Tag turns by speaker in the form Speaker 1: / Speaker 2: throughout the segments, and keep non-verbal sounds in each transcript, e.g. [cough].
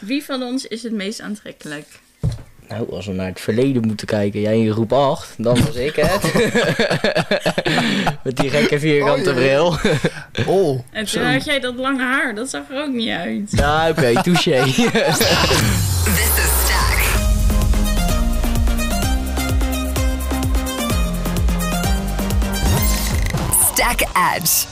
Speaker 1: Wie van ons is het meest aantrekkelijk?
Speaker 2: Nou, als we naar het verleden moeten kijken, jij in groep 8, dan was ik [laughs] het. Met die gekke vierkante
Speaker 3: Oh, jee.
Speaker 2: bril.
Speaker 3: Oh,
Speaker 1: En
Speaker 3: zo.
Speaker 1: toen had jij dat lange haar, dat zag er ook niet uit.
Speaker 2: [laughs] Ja, oké, [laughs] touché.
Speaker 4: This is Stack. Stack Edge.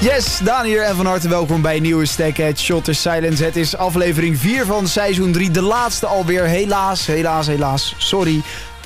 Speaker 3: Yes, Daan hier en van harte welkom bij een nieuwe Stackhead Shotter Silence. Het is aflevering 4 van seizoen 3, de laatste alweer. Helaas, helaas, helaas, sorry.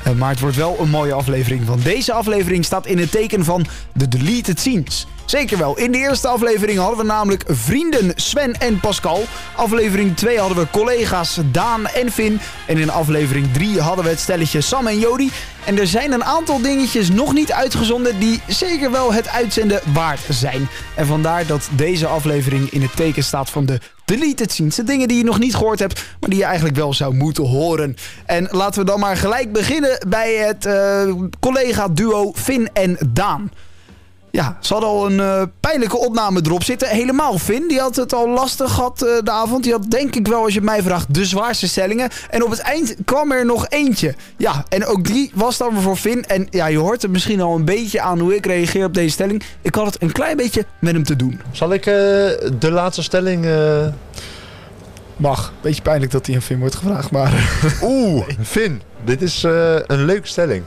Speaker 3: Eh, maar het wordt wel een mooie aflevering, want deze aflevering staat in het teken van de deleted scenes. Zeker wel. In de eerste aflevering hadden we namelijk vrienden Sven en Pascal. Aflevering 2 hadden we collega's Daan en Finn. En in aflevering 3 hadden we het stelletje Sam en Jody. En er zijn een aantal dingetjes nog niet uitgezonden die zeker wel het uitzenden waard zijn. En vandaar dat deze aflevering in het teken staat van de deleted scenes. De dingen die je nog niet gehoord hebt, maar die je eigenlijk wel zou moeten horen. En laten we dan maar gelijk beginnen bij het eh, collega-duo Finn en Daan. Ja, ze hadden al een eh, pijnlijke opname erop zitten. Helemaal Finn, die had het al lastig gehad eh, de avond. Die had denk ik wel, als je het mij vraagt, de zwaarste stellingen. En op het eind kwam er nog eentje. Ja, en ook die was dan weer voor Finn. En ja, je hoort het misschien al een beetje aan hoe ik reageer op deze stelling. Ik had het een klein beetje met hem te doen.
Speaker 5: Zal ik eh, de laatste stelling... eh,
Speaker 3: Mag.
Speaker 6: Beetje pijnlijk dat hij aan Finn wordt gevraagd, maar... [laughs]
Speaker 5: Oeh, [laughs] Finn, dit is eh, een leuke stelling.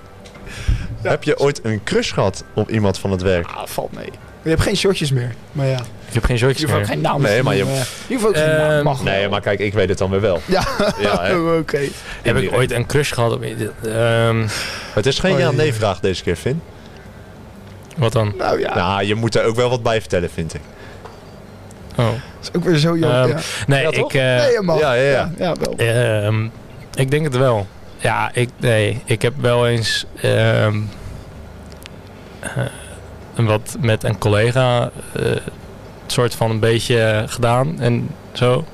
Speaker 5: Heb je ooit een crush gehad op iemand van het werk?
Speaker 6: Ah, valt mee. Je hebt geen shotjes meer, maar ja.
Speaker 7: Ik heb geen shotjes
Speaker 6: Je hoeft ook
Speaker 7: meer.
Speaker 6: geen naam
Speaker 5: Nee, maar je-
Speaker 6: Je hoeft ook geen naam.
Speaker 7: Ehm,
Speaker 6: Mag wel.
Speaker 5: Nee, maar kijk, ik weet het dan weer wel.
Speaker 6: Ja,
Speaker 5: Ja, hè.
Speaker 6: [laughs] oké.
Speaker 7: Heb ik ooit een crush gehad op... Ehm,
Speaker 5: [laughs] Het is geen
Speaker 6: Oh, jee.
Speaker 5: ja-nee-vraag deze keer, Finn.
Speaker 7: wat dan?
Speaker 6: Nou ja,
Speaker 5: Nou, je moet er ook wel wat bij vertellen, vind ik.
Speaker 7: Oh.
Speaker 6: dat is ook weer zo jong.
Speaker 7: Ehm,
Speaker 6: ja.
Speaker 7: Nee,
Speaker 5: Ja, toch?
Speaker 7: ik... eh,
Speaker 6: Nee, je mag.
Speaker 5: ja, ja, ja.
Speaker 6: ja wel.
Speaker 7: Ehm, ik denk het wel. Ja, ik, nee, ik heb wel eens ehm, eh, wat met een collega eh, soort van een beetje gedaan en zo.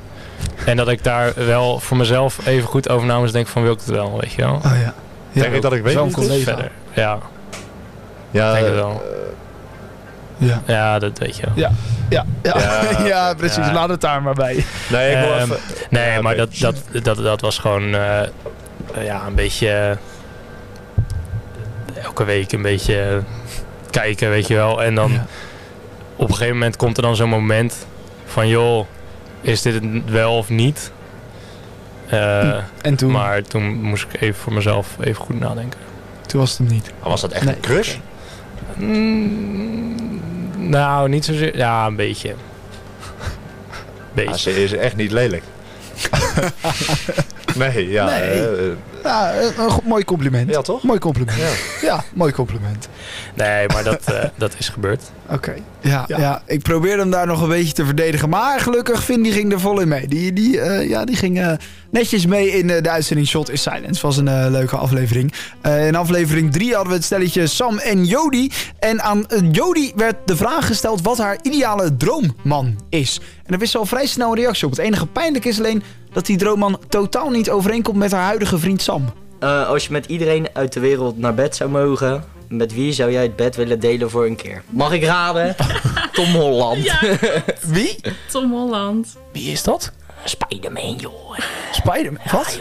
Speaker 7: En dat ik daar wel voor mezelf even goed over namens denk van wil ik het wel, weet je wel.
Speaker 6: Oh ja. Ja,
Speaker 5: denk ik dat ik weet
Speaker 6: Zo'n
Speaker 5: wie het is.
Speaker 6: collega.
Speaker 7: Verder. Ja,
Speaker 5: Ja,
Speaker 7: denk het
Speaker 5: eh,
Speaker 7: wel.
Speaker 6: Ja.
Speaker 7: Ja, dat weet je wel.
Speaker 6: Ja, ja.
Speaker 5: Ja,
Speaker 6: [laughs] ja, precies.
Speaker 7: ja.
Speaker 6: Laat het daar maar bij.
Speaker 5: Nee, ik wil
Speaker 7: Ehm,
Speaker 5: even...
Speaker 7: Nee,
Speaker 5: Ja,
Speaker 7: maar
Speaker 5: oké.
Speaker 7: dat, dat, dat, dat was gewoon eh, eh, ja, een beetje. eh, elke week een beetje eh, kijken, weet je wel. En dan
Speaker 6: Ja.
Speaker 7: op een gegeven moment komt er dan zo'n moment van: joh, is dit het wel of niet? Eh,
Speaker 6: En toen,
Speaker 7: Maar toen moest ik even voor mezelf even goed nadenken.
Speaker 6: toen was het hem niet.
Speaker 5: Was dat echt
Speaker 6: Nee.
Speaker 5: een crush?
Speaker 7: Mm, nou, niet zozeer. Ja, een beetje. [laughs]
Speaker 5: Ah,
Speaker 7: beetje.
Speaker 5: ze is echt niet
Speaker 6: [laughs]
Speaker 5: lelijk. nee, ja.
Speaker 6: Nee.
Speaker 5: eh, eh,
Speaker 6: Ja, een, een goed- mooi compliment.
Speaker 5: ja, toch?
Speaker 6: Mooi compliment.
Speaker 5: Ja.
Speaker 6: Ja. mooi compliment.
Speaker 7: Nee, maar dat, eh, dat is gebeurd.
Speaker 6: Oké.
Speaker 3: Ja, ja.
Speaker 6: Ja.
Speaker 3: ik probeerde hem daar nog een beetje te verdedigen. Maar gelukkig, Finn die ging er vol in mee. Die, die, eh, ja, die ging eh, netjes mee in eh, de uitzending Shot is Silence. Was een eh, leuke aflevering. Eh, in aflevering 3 hadden we het stelletje Sam en Jody. En aan eh, Jody werd de vraag gesteld wat haar ideale droomman is. En daar wist ze al vrij snel een reactie op. Het enige pijnlijk is alleen dat die droomman totaal niet overeenkomt met haar huidige vriend Sam.
Speaker 2: Eh, als je met iedereen uit de wereld naar bed zou mogen, met wie zou jij het bed willen delen voor een keer? Mag ik raden? [laughs] Tom Holland.
Speaker 1: [laughs] Ja,
Speaker 3: Wie?
Speaker 1: Tom Holland.
Speaker 7: Wie is dat?
Speaker 2: Spider-Man, joh.
Speaker 3: Spider-Man. Wat?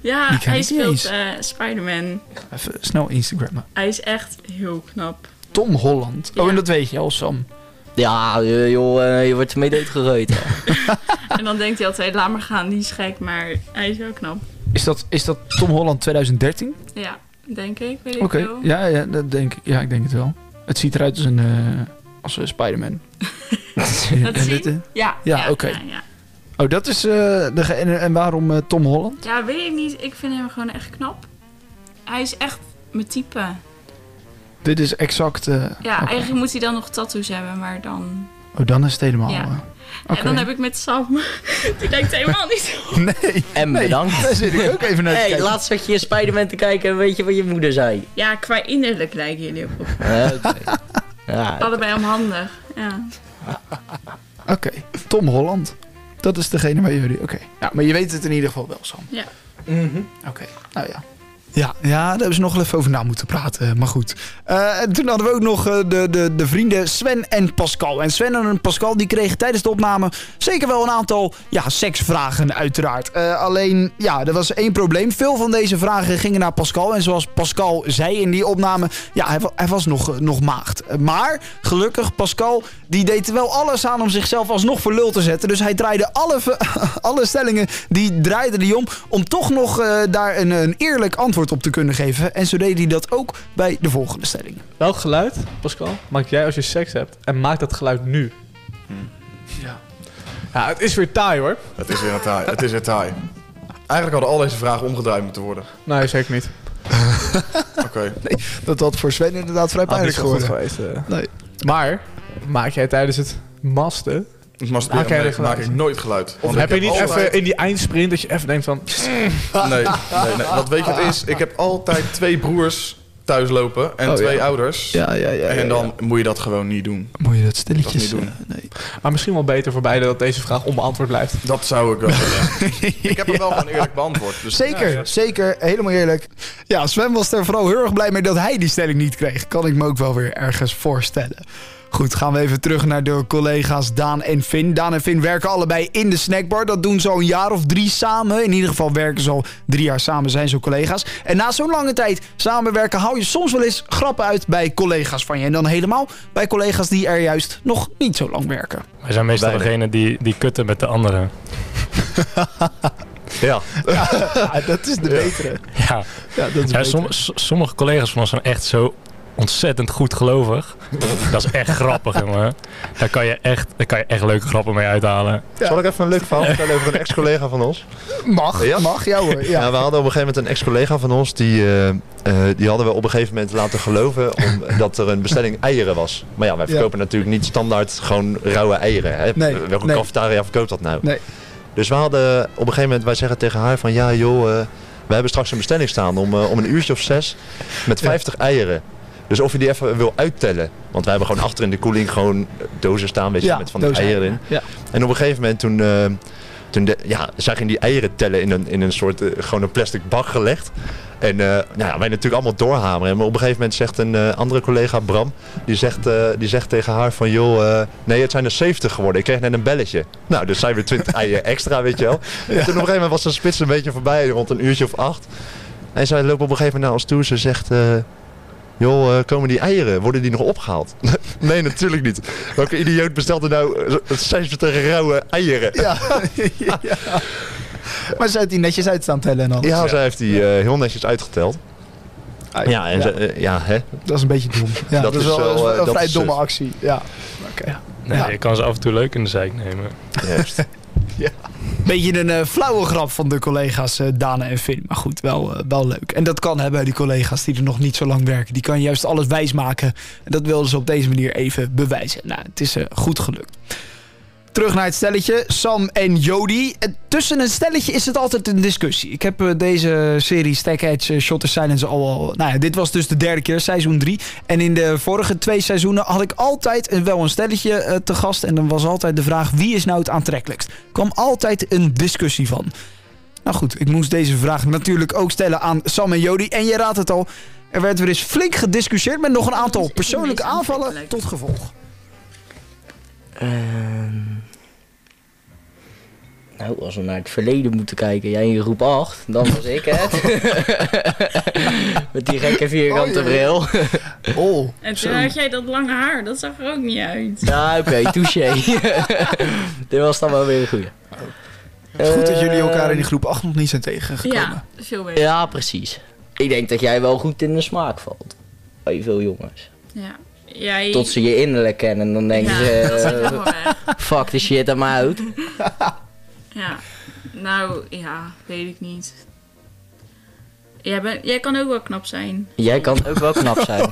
Speaker 1: Ja,
Speaker 3: Die ken
Speaker 1: hij
Speaker 3: ik niet
Speaker 1: speelt
Speaker 3: eens.
Speaker 1: eh Spider-Man.
Speaker 6: Even snel Instagrammen.
Speaker 1: Hij is echt heel knap.
Speaker 6: Tom Holland.
Speaker 1: Ja.
Speaker 6: Oh, en dat weet je al, Sam.
Speaker 2: Ja, eh, joh, eh, je wordt ermee doodgerooid. hè.
Speaker 1: En dan denkt hij altijd, laat maar gaan, die is gek, maar hij is heel knap.
Speaker 6: Is dat, is dat Tom Holland 2013?
Speaker 1: Ja, denk ik, weet ik
Speaker 6: Oké,
Speaker 1: veel.
Speaker 6: ja, ja, dat denk ik. Ja, ik denk het wel. Het ziet eruit als een, eh, als een
Speaker 1: [laughs]
Speaker 6: Spider-Man.
Speaker 1: Dat
Speaker 6: En
Speaker 1: zien?
Speaker 6: dit, eh,
Speaker 1: Ja,
Speaker 6: Ja, oké.
Speaker 1: Ja, ja.
Speaker 6: Oh, dat is eh, de. ge- En, en waarom eh, Tom Holland?
Speaker 1: Ja, weet ik niet. Ik vind hem gewoon echt knap. Hij is echt mijn type.
Speaker 6: Dit is exact. eh,
Speaker 1: Ja,
Speaker 6: oké.
Speaker 1: eigenlijk moet hij dan nog tattoos hebben, maar dan...
Speaker 6: Oh, dan is het helemaal.
Speaker 1: Ja.
Speaker 6: eh,
Speaker 1: En dan heb ik met Sam, [laughs] die lijkt helemaal niet
Speaker 6: [laughs]
Speaker 1: op.
Speaker 6: Nee,
Speaker 2: En
Speaker 6: nee,
Speaker 2: bedankt.
Speaker 6: Daar zit ik ook even naar te
Speaker 2: hey,
Speaker 6: kijken.
Speaker 2: laatst zat je in Spider-Man te kijken en weet je wat je moeder zei?
Speaker 1: Ja, qua innerlijk lijken jullie op. elkaar.
Speaker 2: Eh, [laughs] Oké. Ja,
Speaker 1: Allebei onhandig. Ja.
Speaker 6: Oké, Tom Holland. Dat is degene waar jullie. Oké. Nou, maar je weet het in ieder geval wel, Sam.
Speaker 1: Ja.
Speaker 6: Oké, nou ja.
Speaker 3: Ja, ja, daar hebben ze nog wel even over na moeten praten. Maar goed. Eh, en toen hadden we ook nog eh, de, de, de vrienden Sven en Pascal. En Sven en Pascal die kregen tijdens de opname zeker wel een aantal ja, seksvragen uiteraard. Eh, alleen, ja, er was één probleem. Veel van deze vragen gingen naar Pascal. En zoals Pascal zei in die opname, ja, hij, wa- hij was nog, eh, nog maagd. Eh, Maar, gelukkig, Pascal die deed er wel alles aan om zichzelf alsnog voor lul te zetten. Dus hij draaide alle, ve- [laughs] alle stellingen, die draaide die om. Om toch nog eh, daar een, een eerlijk antwoord op te kunnen geven. En zo deed hij dat ook bij de volgende stelling.
Speaker 8: Welk geluid, Pascal, maak jij als je seks hebt? En maak dat geluid nu.
Speaker 6: Ja.
Speaker 8: Ja, het is weer taai hoor.
Speaker 9: Het is weer een taai. Het is weer taai. Eigenlijk hadden al deze vragen omgedraaid moeten worden.
Speaker 8: Nee, zeker niet.
Speaker 9: Oké.
Speaker 3: Dat had voor Sven inderdaad vrij
Speaker 8: Had niet
Speaker 3: pijnlijk
Speaker 8: zo Ah, goed
Speaker 3: geworden.
Speaker 8: geweest. eh.
Speaker 3: Nee.
Speaker 8: Maar, maak jij tijdens het masten...
Speaker 9: Masturberen
Speaker 8: Oké, dat
Speaker 9: nee, maak
Speaker 8: geluid.
Speaker 9: ik nooit geluid.
Speaker 8: Of
Speaker 9: Want
Speaker 8: heb
Speaker 9: ik
Speaker 8: je niet
Speaker 9: altijd-
Speaker 8: even in die eindsprint dat je even denkt van...
Speaker 9: Nee, nee, nee. Want weet je wat het is? Ik heb altijd twee broers thuis lopen en
Speaker 8: Oh,
Speaker 9: twee
Speaker 8: ja.
Speaker 9: ouders.
Speaker 3: Ja, ja, ja.
Speaker 9: En dan moet je dat gewoon niet doen.
Speaker 6: Moet je dat
Speaker 9: Dat niet
Speaker 6: stilletjes
Speaker 9: doen.
Speaker 3: eh,
Speaker 8: Maar misschien wel beter voor beide dat deze vraag onbeantwoord blijft.
Speaker 9: Dat zou ik wel willen. Ik heb hem wel gewoon eerlijk beantwoord. Dus
Speaker 3: Zeker, zeker. Helemaal eerlijk. Ja, Sven was er vooral heel erg blij mee dat hij die stelling niet kreeg. Kan ik me ook wel weer ergens voorstellen. Goed, gaan we even terug naar de collega's Daan en Finn. Daan en Finn werken allebei in de snackbar. Dat doen ze al een jaar of drie samen. In ieder geval werken ze al drie jaar samen, zijn ze collega's. En na zo'n lange tijd samenwerken hou je soms wel eens grappen uit bij collega's van je. En dan helemaal bij collega's die er juist nog niet zo lang werken.
Speaker 7: Wij zijn meestal
Speaker 5: Beide.
Speaker 7: degene die, die kutten met de anderen. ja.
Speaker 3: dat is de betere.
Speaker 7: ja.
Speaker 3: Ja, dat is
Speaker 7: Ja, som- s- sommige collega's van ons zijn echt zo ontzettend goed gelovig. dat is [laughs] echt grappig, jongen. Daar kan, je echt, daar kan je echt leuke grappen mee uithalen.
Speaker 5: Zal ik even een leuk verhaal vertellen over een ex-collega van ons?
Speaker 3: Mag,
Speaker 5: Ja?
Speaker 3: mag. Ja hoor.
Speaker 5: Ja.
Speaker 3: Ja.
Speaker 5: we hadden op een gegeven moment een ex-collega van ons. Die, eh, eh, die hadden we op een gegeven moment laten
Speaker 3: [laughs]
Speaker 5: geloven om, dat er een bestelling eieren was. Maar ja, wij
Speaker 3: Ja.
Speaker 5: verkopen natuurlijk niet standaard gewoon rauwe eieren. Hè?
Speaker 3: Nee,
Speaker 5: Welke
Speaker 3: nee.
Speaker 5: cafetaria verkoopt dat nou?
Speaker 3: Nee.
Speaker 5: Dus we hadden op een gegeven moment, wij zeggen tegen haar van ja joh, eh, we hebben straks een bestelling staan om, eh, om een uurtje of zes met 50 eieren. Dus of je die even wil uittellen. Want wij hebben gewoon achter in de koeling gewoon dozen staan, weet je,
Speaker 3: Ja,
Speaker 5: met van die
Speaker 3: dozen
Speaker 5: eieren in.
Speaker 3: Ja.
Speaker 5: En op een gegeven moment toen, eh, toen de, ja, zag je die eieren tellen in een, in een soort, eh, gewoon een plastic bak gelegd. En eh, nou ja, wij natuurlijk allemaal doorhameren. Maar op een gegeven moment zegt een eh, andere collega, Bram, die zegt, eh, die zegt tegen haar van... joh, eh, nee, het zijn er 70 geworden. Ik kreeg net een belletje. Nou, dus zijn weer 20 eieren extra, weet je wel. En toen op een gegeven moment was de spits een beetje voorbij, rond een uurtje of acht. En zij loopt op een gegeven moment naar ons toe. Ze zegt... eh, Joh, eh, komen die eieren, worden die nog opgehaald? [laughs] nee, natuurlijk niet. Welke idioot bestelt er nou eh, 70 rauwe eieren?
Speaker 3: Ja. [laughs] ja. Maar ze had die netjes uit staan tellen en alles.
Speaker 5: Ja, zij heeft die eh, heel netjes uitgeteld. Ja, en ze- eh, ja hè?
Speaker 3: dat is een beetje dom. Ja, dat, is wel, dat is
Speaker 5: eh,
Speaker 3: wel een
Speaker 5: dat
Speaker 3: vrij
Speaker 5: is
Speaker 3: domme
Speaker 5: suf.
Speaker 3: actie. Ja.
Speaker 7: Nee,
Speaker 3: Ja.
Speaker 7: Je kan ze af en toe leuk in de zijk nemen.
Speaker 5: Juist.
Speaker 3: Beetje een eh, flauwe grap van de collega's eh Dana en Finn. Maar goed, wel, eh, wel leuk. En dat kan hè, bij die collega's die er nog niet zo lang werken. Die kan juist alles wijsmaken. En dat wilden ze op deze manier even bewijzen. Nou, het is eh, goed gelukt. Terug naar het stelletje, Sam en Jody. Eh, Tussen een stelletje is het altijd een discussie. Ik heb eh, deze serie Stack Edge, eh, Shot the Silence al, al... Nou ja, dit was dus de derde keer, seizoen 3. En in de vorige twee seizoenen had ik altijd een- wel een stelletje eh, te gast. En dan was altijd de vraag, wie is nou het aantrekkelijkst? Er kwam altijd een discussie van. Nou goed, ik moest deze vraag natuurlijk ook stellen aan Sam en Jody. En je raadt het al, er werd weer eens flink gediscussieerd... met nog een aantal persoonlijke aanvallen tot gevolg.
Speaker 2: Ehm, nou, als we naar het verleden moeten kijken, jij in groep 8, dan was ik
Speaker 3: [laughs]
Speaker 2: het. Met die gekke vierkante bril.
Speaker 3: Oh,
Speaker 1: En toen had jij dat lange haar, dat zag er ook niet uit.
Speaker 2: Ja, Nou, oké,
Speaker 3: [laughs]
Speaker 2: touché. Dit was dan wel weer een goeie.
Speaker 3: Het is goed dat jullie elkaar in
Speaker 2: Ehm,
Speaker 3: die groep 8 nog niet zijn tegengekomen.
Speaker 1: Ja, veel beter.
Speaker 2: Ja, precies. Ik denk dat jij wel goed in de smaak valt. Bij veel jongens.
Speaker 1: Ja. Jij...
Speaker 2: Tot ze je innerlijk kennen en dan denken
Speaker 1: Ja,
Speaker 2: ze...
Speaker 1: dat is
Speaker 2: eh,
Speaker 1: helemaal weg.
Speaker 2: fuck the shit, I'm out.
Speaker 1: Ja. Nou, ja, weet ik niet. Jij, bent- jij kan ook wel knap zijn.
Speaker 2: Jij kan ook wel knap
Speaker 3: [laughs]
Speaker 2: zijn.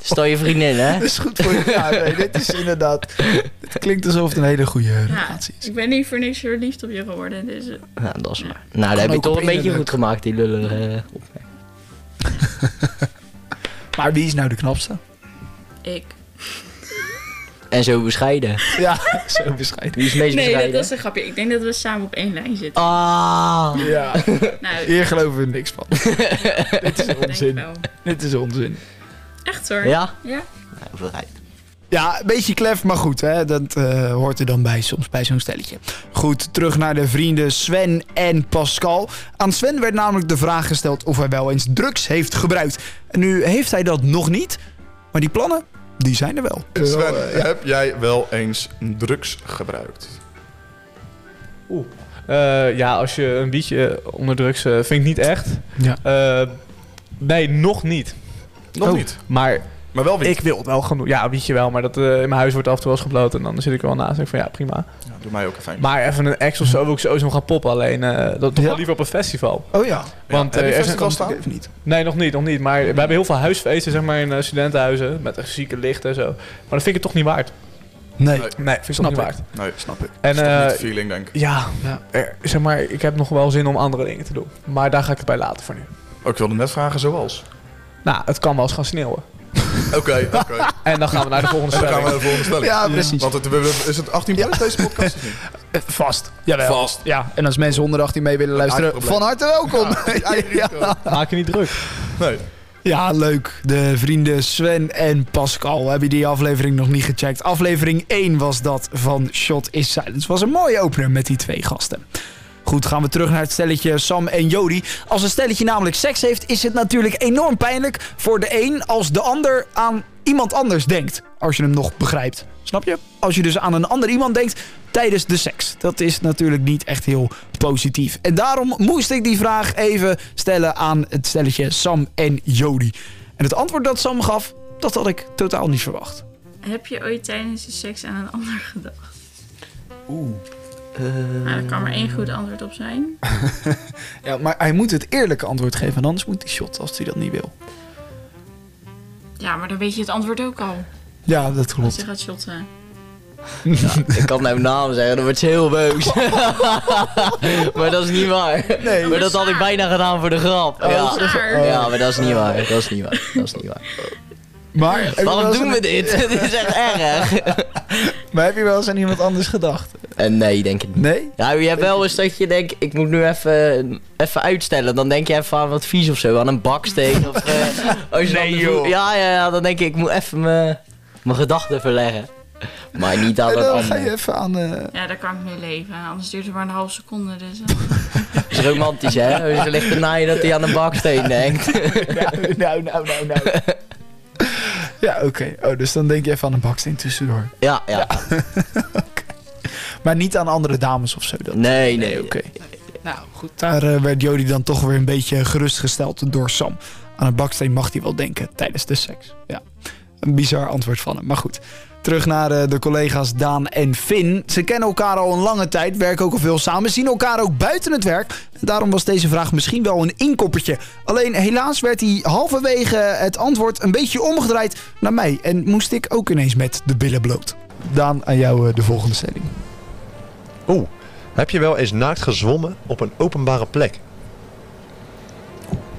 Speaker 2: Stel je vriendin, hè?
Speaker 3: Dat is goed voor je. Ja, nee, dit is inderdaad... Het klinkt alsof het een hele goede
Speaker 1: Ja,
Speaker 3: relatie is.
Speaker 1: ik ben niet voor niks verliefd op je geworden. Dus eh,
Speaker 2: Nou, dat is maar. Nou, dat heb je
Speaker 3: ook
Speaker 2: toch
Speaker 3: op
Speaker 2: een beetje
Speaker 3: innerlijk.
Speaker 2: goed gemaakt, die lullen. eh,
Speaker 3: [laughs] Maar wie is nou de knapste?
Speaker 1: ik.
Speaker 2: En zo bescheiden.
Speaker 8: Ja, zo bescheiden.
Speaker 2: Wie is het meest
Speaker 1: Nee, dat
Speaker 2: bescheiden?
Speaker 1: was een grapje. Ik denk dat we samen op één lijn zitten. [laughs]
Speaker 2: Ah.
Speaker 8: Ja,
Speaker 2: [laughs]
Speaker 1: Nou,
Speaker 8: hier geloven we niks
Speaker 3: [laughs]
Speaker 8: van. Dit
Speaker 1: ik
Speaker 8: is
Speaker 1: denk
Speaker 8: onzin.
Speaker 1: wel.
Speaker 8: Dit is onzin.
Speaker 1: Echt hoor.
Speaker 2: Ja?
Speaker 1: Ja.
Speaker 2: Nou, vooruit.
Speaker 3: Ja, een beetje klef, maar goed, hè? dat eh, hoort er dan bij soms bij zo'n stelletje. Goed, terug naar de vrienden Sven en Pascal. Aan Sven werd namelijk de vraag gesteld of hij wel eens drugs heeft gebruikt. En nu heeft hij dat nog niet, maar die plannen, die zijn er wel.
Speaker 9: Sven, heb jij wel eens drugs gebruikt?
Speaker 8: Eh, ja, als je een biertje eh, onder drugs eh, vind ik niet echt.
Speaker 6: Ja.
Speaker 8: Eh, nee, nog niet.
Speaker 9: Nog
Speaker 8: Oh.
Speaker 9: niet.
Speaker 8: Maar
Speaker 9: Maar wel wiet.
Speaker 8: ik wil het wel genoeg. Ja, weet je wel, maar dat, eh, in mijn huis wordt af en toe wel eens gebloten. En dan zit ik er wel naast en denk ik van ja, prima.
Speaker 9: Ja, doe mij ook even een.
Speaker 8: Maar even een ex of zo wil ik sowieso nog gaan poppen. Alleen eh dat toch
Speaker 3: Ja.
Speaker 8: wel liever op een festival.
Speaker 3: Oh ja,
Speaker 8: Want,
Speaker 9: heb
Speaker 8: eh,
Speaker 9: je
Speaker 8: er is
Speaker 9: festival
Speaker 8: een-
Speaker 9: staan?
Speaker 3: even niet.
Speaker 8: Nee, nog niet, nog niet. Maar we hebben heel veel huisfeesten, zeg maar, in eh, studentenhuizen. Met echt zieke licht en zo. Maar dat vind ik het toch niet waard.
Speaker 3: Nee.
Speaker 9: Nee.
Speaker 8: Nee, vind ik toch niet waard.
Speaker 9: Nee, snap ik.
Speaker 8: En
Speaker 9: Snap niet
Speaker 8: eh,
Speaker 9: de feeling, denk ik.
Speaker 8: ja, er- zeg maar, ik heb nog wel zin om andere dingen te doen. Maar daar ga ik het bij laten voor nu.
Speaker 9: Oh, ik wilde net vragen zoals.
Speaker 8: Nou, het kan wel eens gaan sneeuwen.
Speaker 9: Oké, oké.
Speaker 8: En dan gaan we naar de volgende
Speaker 9: Dan gaan
Speaker 8: stelling.
Speaker 9: we naar de volgende stelling.
Speaker 3: Ja, precies.
Speaker 9: Want het, we- we- is het 18 plus deze podcast? of niet?
Speaker 6: Vast. Jawel.
Speaker 9: Vast.
Speaker 6: Ja.
Speaker 3: Eh, En als mensen onder 18 mee willen luisteren,
Speaker 9: eigen probleem.
Speaker 3: van harte welkom. [laughs] Ja, ja.
Speaker 8: Maak je niet druk.
Speaker 9: Nee.
Speaker 3: leuk. De vrienden Sven en Pascal hebben die aflevering nog niet gecheckt. Aflevering 1 was dat van Shot is Silence. Was een mooie opener met die twee gasten. Goed, gaan we terug naar het stelletje Sam en Jody. Als een stelletje namelijk seks heeft, is het natuurlijk enorm pijnlijk voor de een als de ander aan iemand anders denkt. Als je hem nog begrijpt. Snap je? Als je dus aan een ander iemand denkt tijdens de seks. Dat is natuurlijk niet echt heel positief. En daarom moest ik die vraag even stellen aan het stelletje Sam en Jody. En het antwoord dat Sam gaf, dat had ik totaal niet verwacht.
Speaker 1: Heb je ooit tijdens je seks aan een ander gedacht? Oeh. Nou, er kan maar één goed antwoord op zijn.
Speaker 3: Ja, maar hij moet het eerlijke antwoord geven, want anders moet hij shot als hij dat niet wil.
Speaker 1: Ja, maar dan weet je het antwoord ook al.
Speaker 3: Ja, dat
Speaker 1: Als
Speaker 3: klopt.
Speaker 1: je gaat shotten.
Speaker 2: Ik kan nou naam zeggen, dan wordt ze heel
Speaker 1: [laughs]
Speaker 2: boos. [laughs] maar dat is niet waar.
Speaker 3: Nee. Oh,
Speaker 2: Maar dat had ik bijna gedaan voor de grap. ja.
Speaker 1: dat is waar.
Speaker 2: ja, maar dat is niet waar. Dat is niet waar. Dat is niet waar.
Speaker 3: Maar,
Speaker 2: Waarom doen we dit? [laughs] dit is echt erg.
Speaker 3: [laughs] maar heb je wel eens aan iemand anders gedacht?
Speaker 2: En nee, denk ik niet.
Speaker 3: Nee?
Speaker 2: Ja, je hebt wel eens dat je denkt, ik moet nu even, even uitstellen. Dan denk je even aan wat vies of zo, aan een baksteen. Of,
Speaker 3: [laughs]
Speaker 2: eh, als je dan de voet- Ja, ja, ja, dan denk ik, ik moet even mijn mijn gedachten verleggen. Maar niet aan
Speaker 3: En
Speaker 2: dat
Speaker 3: dan ga je
Speaker 2: andere.
Speaker 3: even aan... eh,
Speaker 1: Ja, daar kan ik mee leven. Anders duurt het maar een half seconde. Dus eh,
Speaker 2: Dat is romantisch, hè? Ze ligt te naaien dat hij aan een baksteen denkt.
Speaker 3: nou, nou, [laughs] nou, nou, nou. ja, oké. Oh, dus dan denk je even aan een baksteen tussendoor.
Speaker 2: Ja, ja.
Speaker 3: Maar niet aan andere dames of zo. Dat.
Speaker 2: Nee, nee.
Speaker 3: oké.
Speaker 6: Nou, goed.
Speaker 3: Daar eh, werd Jody dan toch weer een beetje gerustgesteld door Sam. Aan een baksteen mag hij wel denken tijdens de seks. Ja, een bizar antwoord van hem. Maar goed, terug naar eh, de collega's Daan en Finn. Ze kennen elkaar al een lange tijd, werken ook al veel samen, zien elkaar ook buiten het werk. Daarom was deze vraag misschien wel een inkoppertje. Alleen helaas werd hij halverwege het antwoord een beetje omgedraaid naar mij. En moest ik ook ineens met de billen bloot. Daan, aan jou eh, de volgende stelling.
Speaker 5: Oeh, [laughs] heb je wel eens naakt gezwommen op een openbare plek?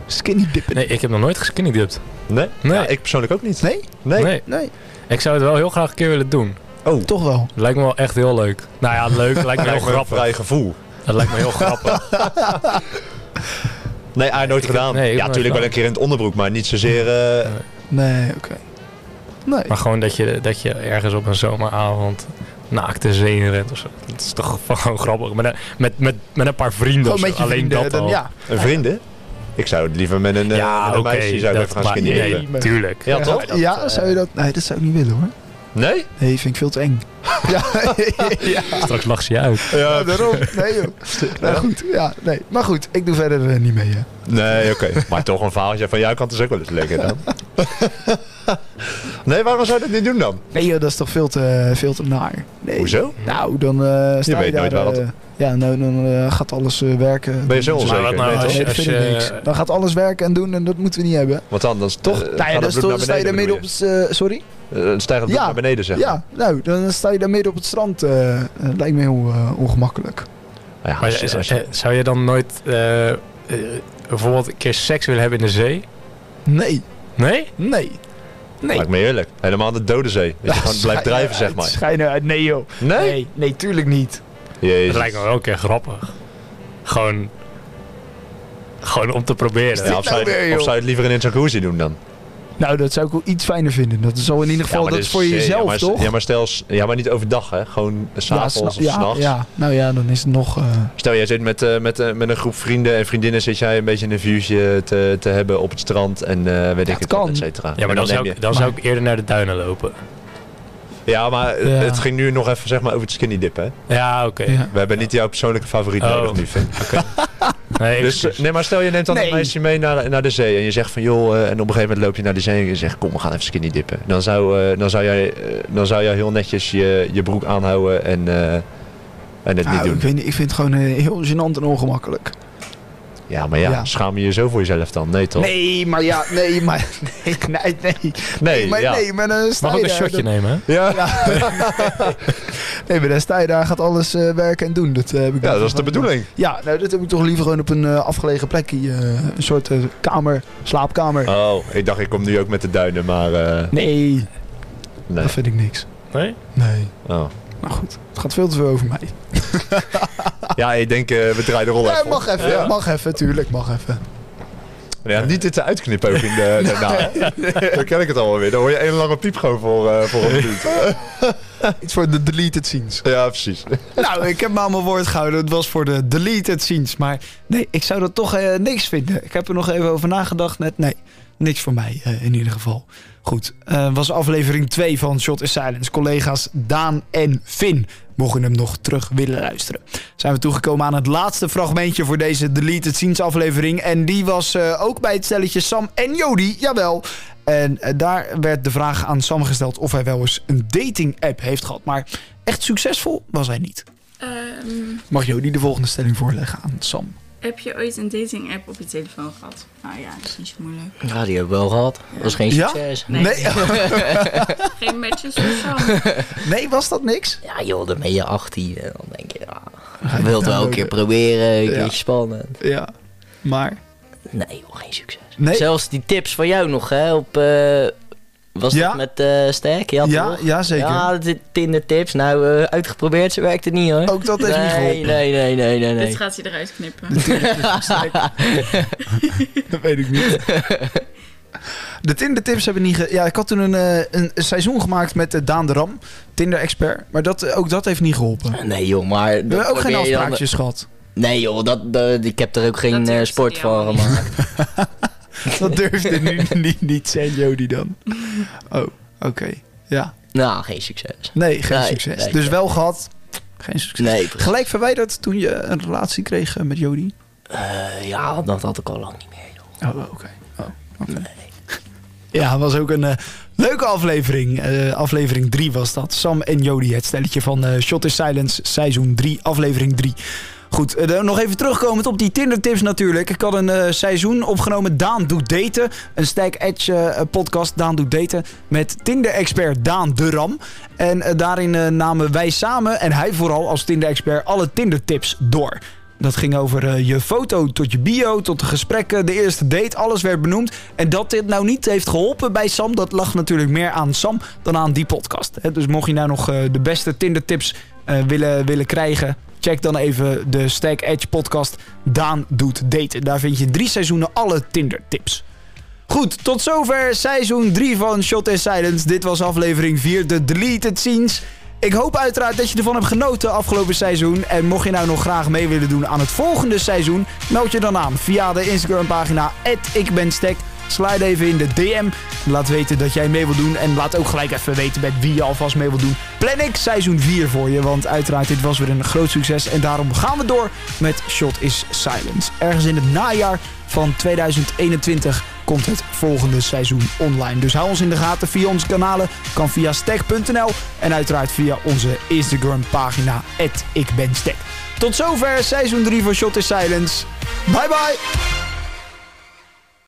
Speaker 3: Skinny dippen.
Speaker 7: Nee, ik heb nog nooit geskinnydipt.
Speaker 5: Nee?
Speaker 7: Nee.
Speaker 5: Ja, ik persoonlijk ook niet.
Speaker 3: Nee?
Speaker 5: Nee.
Speaker 7: nee.
Speaker 3: Nee,
Speaker 7: Ik zou het wel heel graag een keer willen doen.
Speaker 3: toch wel.
Speaker 7: Lijkt me wel echt heel leuk. Nou ja, leuk. [laughs] Lijkt me heel
Speaker 5: Lijkt me een
Speaker 7: grappig.
Speaker 5: vrij gevoel.
Speaker 7: Dat lijkt me heel grappig.
Speaker 5: Nee, hij nooit gedaan.
Speaker 7: nee, ik heb
Speaker 5: ja,
Speaker 7: nooit
Speaker 5: natuurlijk wel
Speaker 7: gedaan.
Speaker 5: een keer in het onderbroek, maar niet zozeer... eh,
Speaker 3: Nee, oké. Nee.
Speaker 7: Maar gewoon dat je, dat je ergens op een zomeravond naakt de zee in rent of zo. Dat is toch [laughs] gewoon grappig. Met een, met, met, met een paar vrienden
Speaker 3: Gewoon
Speaker 7: of zo.
Speaker 3: met je
Speaker 7: Alleen
Speaker 3: vrienden,
Speaker 7: dat
Speaker 3: dan-
Speaker 7: al.
Speaker 3: ja.
Speaker 5: Een vrienden? Ik zou het liever met een, eh,
Speaker 7: Ja,
Speaker 5: met
Speaker 7: oké.
Speaker 5: een meisje zou ik
Speaker 7: dat-
Speaker 5: even gaan
Speaker 7: maar-
Speaker 5: skinnydippen.
Speaker 7: Nee, tuurlijk.
Speaker 5: Ja, toch?
Speaker 3: Ja, zou je dat? eh, Nee, dat zou ik niet willen hoor.
Speaker 5: Nee?
Speaker 3: Nee, vind ik veel te eng. [laughs] ja, ja,
Speaker 7: Straks lacht ze je uit.
Speaker 5: Ja,
Speaker 3: daarom. Nee joh. Nou goed, ja, nee. Maar goed, ik doe verder eh, niet mee hè.
Speaker 5: Nee, oké. Maar toch een verhaaltje van jouw kant is ook wel eens lekker dan. nee, waarom zou je dat niet doen dan?
Speaker 3: Nee joh, dat is toch veel te, veel te naar. Nee.
Speaker 5: Hoezo?
Speaker 3: Nou, dan eh sta
Speaker 5: weet
Speaker 3: daar,
Speaker 5: nooit waar dat-
Speaker 3: eh, Ja, nou, dan eh, gaat alles eh, werken.
Speaker 5: Ben je zo onzeker?
Speaker 7: Maar wat nou
Speaker 5: Nee,
Speaker 3: Nee,
Speaker 7: als
Speaker 5: toch?
Speaker 7: je...
Speaker 3: dat
Speaker 7: Als
Speaker 3: vind ik niks.
Speaker 7: je
Speaker 3: Dan gaat alles werken en doen en dat moeten we niet hebben.
Speaker 5: Want anders toch eh,
Speaker 3: nou ja,
Speaker 5: gaat
Speaker 3: dus
Speaker 5: het bloed
Speaker 3: dan
Speaker 5: naar
Speaker 3: sta je
Speaker 5: beneden,
Speaker 3: daar midden
Speaker 5: bedoel
Speaker 3: op het... eh, sorry?
Speaker 5: je? Eh, stijgt het bloed
Speaker 3: Ja.
Speaker 5: naar beneden, zeg maar.
Speaker 3: Ja, nou, dan sta je daar midden op het strand. eh, eh, lijkt me heel eh, ongemakkelijk.
Speaker 5: Ja,
Speaker 7: Maar
Speaker 5: als je- als je-
Speaker 7: eh, zou je dan nooit eh, eh, bijvoorbeeld een keer seks willen hebben in de zee?
Speaker 3: Nee,
Speaker 7: Nee?
Speaker 3: nee.
Speaker 6: Nee.
Speaker 5: Lijkt me heerlijk. Helemaal aan de dode zee. Dat je
Speaker 3: [laughs]
Speaker 5: gewoon blijft drijven, zeg maar.
Speaker 3: Schijnen uit. Nee joh.
Speaker 5: Nee?
Speaker 3: Nee, nee, tuurlijk niet.
Speaker 7: Het
Speaker 5: Jezus.
Speaker 7: lijkt me wel een keer grappig. Gewoon, gewoon om te proberen.
Speaker 5: Ja, of, zou
Speaker 3: weer,
Speaker 5: je,
Speaker 3: joh?
Speaker 5: of zou je het liever in een jacuzzi doen dan?
Speaker 3: Nou, dat zou ik wel iets fijner vinden. Dat is al in ieder
Speaker 5: Ja,
Speaker 3: geval
Speaker 5: maar
Speaker 3: dat
Speaker 5: dus,
Speaker 3: is voor
Speaker 5: eh, ja,
Speaker 3: jezelf,
Speaker 5: maar,
Speaker 3: toch?
Speaker 5: Ja maar, stel, s- ja, maar niet overdag, hè? Gewoon s'avonds
Speaker 3: sna-
Speaker 5: of s'nachts.
Speaker 3: ja, nou ja, dan is het nog... eh,
Speaker 5: Stel, jij zit met, eh, met, eh, met een groep vrienden en vriendinnen, zit jij een beetje een vuurtje te, te hebben op het strand en eh, weet ik
Speaker 3: het
Speaker 5: het,
Speaker 3: kan.
Speaker 5: wat, et cetera.
Speaker 7: Ja, maar
Speaker 5: En
Speaker 7: dan zou,
Speaker 5: neem
Speaker 7: ik, dan zou ik eerder naar de duinen lopen.
Speaker 5: je- Ja, maar eh,
Speaker 3: Ja.
Speaker 5: het ging nu nog even zeg maar, over het skinny dip, hè?
Speaker 7: Ja, oké.
Speaker 6: Ja.
Speaker 5: We hebben niet jouw persoonlijke favoriet
Speaker 7: Oh.
Speaker 5: nodig nu, Finn.
Speaker 7: Nee, ik-
Speaker 5: Dus, eh, nee, maar stel je neemt dan
Speaker 3: Nee.
Speaker 5: een meisje mee naar, naar de zee en je zegt van joh, eh, en op een gegeven moment loop je naar de zee en je zegt kom, we gaan even skinny dippen. Dan zou, eh, dan zou, jij, eh, dan zou jij heel netjes je, je broek aanhouden en, eh, en het niet
Speaker 3: nou, ik,
Speaker 5: doen.
Speaker 3: weet, niet, ik vind het gewoon eh, heel gênant en ongemakkelijk.
Speaker 5: Ja, maar ja,
Speaker 3: Ja.
Speaker 5: schaam je je zo voor jezelf dan? Nee, toch?
Speaker 3: Nee, maar ja, nee, maar... [laughs] Nee, nee, nee.
Speaker 5: Nee,
Speaker 3: maar,
Speaker 5: ja.
Speaker 3: nee, maar dan sta
Speaker 7: mag
Speaker 3: je
Speaker 7: ook een
Speaker 3: daar,
Speaker 7: shotje
Speaker 3: dan-
Speaker 7: nemen, hè?
Speaker 5: Ja.
Speaker 3: [laughs] Nee, maar dan sta je daar, gaat alles eh, werken en doen. Dat, eh, heb ik
Speaker 5: ja,
Speaker 3: dan
Speaker 5: dat is de
Speaker 3: gewoon-
Speaker 5: bedoeling.
Speaker 3: Ja, nou, dat heb ik toch liever gewoon op een eh, afgelegen plekje. eh, een soort eh, kamer, slaapkamer.
Speaker 5: Oh, ik dacht ik kom nu ook met de duinen, maar eh,
Speaker 3: Ah. Nee,
Speaker 5: nee.
Speaker 3: dat vind ik niks.
Speaker 7: Nee?
Speaker 3: Nee.
Speaker 5: Oh.
Speaker 3: Nou goed, het gaat veel te veel over mij.
Speaker 5: Ja, ik denk eh, we draaien de rol
Speaker 3: Ja,
Speaker 5: even
Speaker 3: mag
Speaker 5: om.
Speaker 3: even,
Speaker 5: Ja.
Speaker 3: mag even, tuurlijk, mag even.
Speaker 5: Ja, niet dit te uitknippen ook in de,
Speaker 3: [laughs]
Speaker 5: daarna. Dan ken ik het allemaal weer. Dan hoor je een lange piep gewoon voor, eh voor een minuut.
Speaker 3: Iets voor de deleted scenes.
Speaker 5: Ja, precies.
Speaker 3: nou, ik heb me aan mijn woord gehouden. Het was voor de deleted scenes. Maar nee, ik zou dat toch eh, niks vinden. Ik heb er nog even over nagedacht net. Nee, niks voor mij eh, in ieder geval. Goed, eh, was aflevering 2 van Shot is Silence. Collega's Daan en Finn mochten hem nog terug willen luisteren. Zijn we toegekomen aan het laatste fragmentje voor deze deleted scenes aflevering. En die was eh, ook bij het stelletje Sam en Jody, jawel. En eh, daar werd de vraag aan Sam gesteld of hij wel eens een dating app heeft gehad. Maar echt succesvol was hij niet.
Speaker 1: Ehm,
Speaker 3: Mag Jody de volgende stelling voorleggen aan Sam?
Speaker 1: heb je ooit een dating app op je telefoon gehad? Nou ja, dat is niet zo moeilijk.
Speaker 2: Ja, die heb ik wel gehad. Dat was geen
Speaker 3: Ja?
Speaker 2: succes.
Speaker 1: Nee.
Speaker 3: Nee, [laughs]
Speaker 1: Geen matches of zo.
Speaker 3: nee was dat niks?
Speaker 2: Ja joh, dan ben je 18 en dan denk je, ja, je wilt wel een keer proberen, een
Speaker 3: Ja.
Speaker 2: keertje spannend.
Speaker 3: Ja, maar...
Speaker 2: Nee joh, geen succes.
Speaker 3: Nee.
Speaker 2: Zelfs die tips van jou nog hè, op, eh, was
Speaker 3: Ja.
Speaker 2: dat met eh Sterk? Ja,
Speaker 3: Ja,
Speaker 2: toch?
Speaker 3: ja zeker.
Speaker 2: Ja, de Tinder tips. Nou, eh, uitgeprobeerd, ze werkte niet hoor.
Speaker 3: Ook Oh, dat heeft niet
Speaker 2: nee,
Speaker 3: geholpen.
Speaker 2: nee, nee, nee, nee, nee.
Speaker 1: Dit gaat hij eruit knippen.
Speaker 3: Dat weet ik niet. De Tinder-tips hebben niet... ge- ja, ik had toen een, eh, een, een seizoen gemaakt met eh, Daan de Ram, Tinder-expert. Maar dat, eh, ook dat heeft niet geholpen.
Speaker 2: [laughs]
Speaker 3: We
Speaker 2: Nee joh, maar... dat
Speaker 3: hebben ook
Speaker 2: probeer
Speaker 3: geen
Speaker 2: je dan- eh.
Speaker 3: afspraakjes gehad.
Speaker 2: Nee joh, dat, dat- ik heb er ook geen
Speaker 1: Dat
Speaker 2: eh,
Speaker 1: durfde
Speaker 2: sport
Speaker 1: die
Speaker 2: van
Speaker 1: allemaal niet.
Speaker 2: gemaakt.
Speaker 3: Dat durfde nu
Speaker 2: [laughs]
Speaker 3: niet, niet zijn, Jody dan. Oh, oké. Ja.
Speaker 2: Nou, geen succes.
Speaker 3: Nee, geen
Speaker 2: Nee,
Speaker 3: succes.
Speaker 2: nee,
Speaker 3: dus
Speaker 2: nee.
Speaker 3: wel gehad. Geen succes.
Speaker 2: Nee, precies.
Speaker 3: Gelijk verwijderd toen je een relatie kreeg eh, met Jody?
Speaker 2: Eh, ja, dat had ik al lang niet meer. joh.
Speaker 3: Oh, oké. Oh, Ja, het was ook een eh, leuke aflevering. Eh, aflevering 3 was dat. Sam en Jody, het stelletje van eh, Shot is Silence, seizoen 3, aflevering 3. Goed, eh, dan nog even terugkomend op die Tinder-tips natuurlijk. Ik had een eh, seizoen opgenomen, Daan doet daten. Een Stack Edge eh, podcast, Daan doet daten. Met Tinder-expert Daan de Ram. En eh, daarin eh, namen wij samen, en hij vooral als Tinder-expert, alle Tinder-tips door. Dat ging over eh, je foto tot je bio, tot de gesprekken, de eerste date, alles werd benoemd. En dat dit nou niet heeft geholpen bij Sam, dat lag natuurlijk meer aan Sam dan aan die podcast. Hè, Dus mocht je nou nog eh, de beste Tinder tips eh, willen, willen krijgen, check dan even de Stack Edge podcast Daan Doet Daten. Daar vind je in drie seizoenen alle Tinder tips. Goed, tot zover seizoen 3 van Shot in Silence. Dit was aflevering 4, de Deleted Scenes. Ik hoop uiteraard dat je ervan hebt genoten afgelopen seizoen. En mocht je nou nog graag mee willen doen aan het volgende seizoen, meld je dan aan via de Instagram-pagina ikbenstek. Slide even in de DM. Laat weten dat jij mee wil doen. En laat ook gelijk even weten met wie je alvast mee wil doen. Plan ik seizoen 4 voor je. Want uiteraard, dit was weer een groot succes. En daarom gaan we door met Shot is Silence. Ergens in het najaar van 2021 komt het volgende seizoen online. Dus hou ons in de gaten via onze kanalen. Kan via stack.nl en uiteraard via onze Instagram pagina. ikbenstack. Tot zover seizoen 3 van Shot is Silence. Bye bye!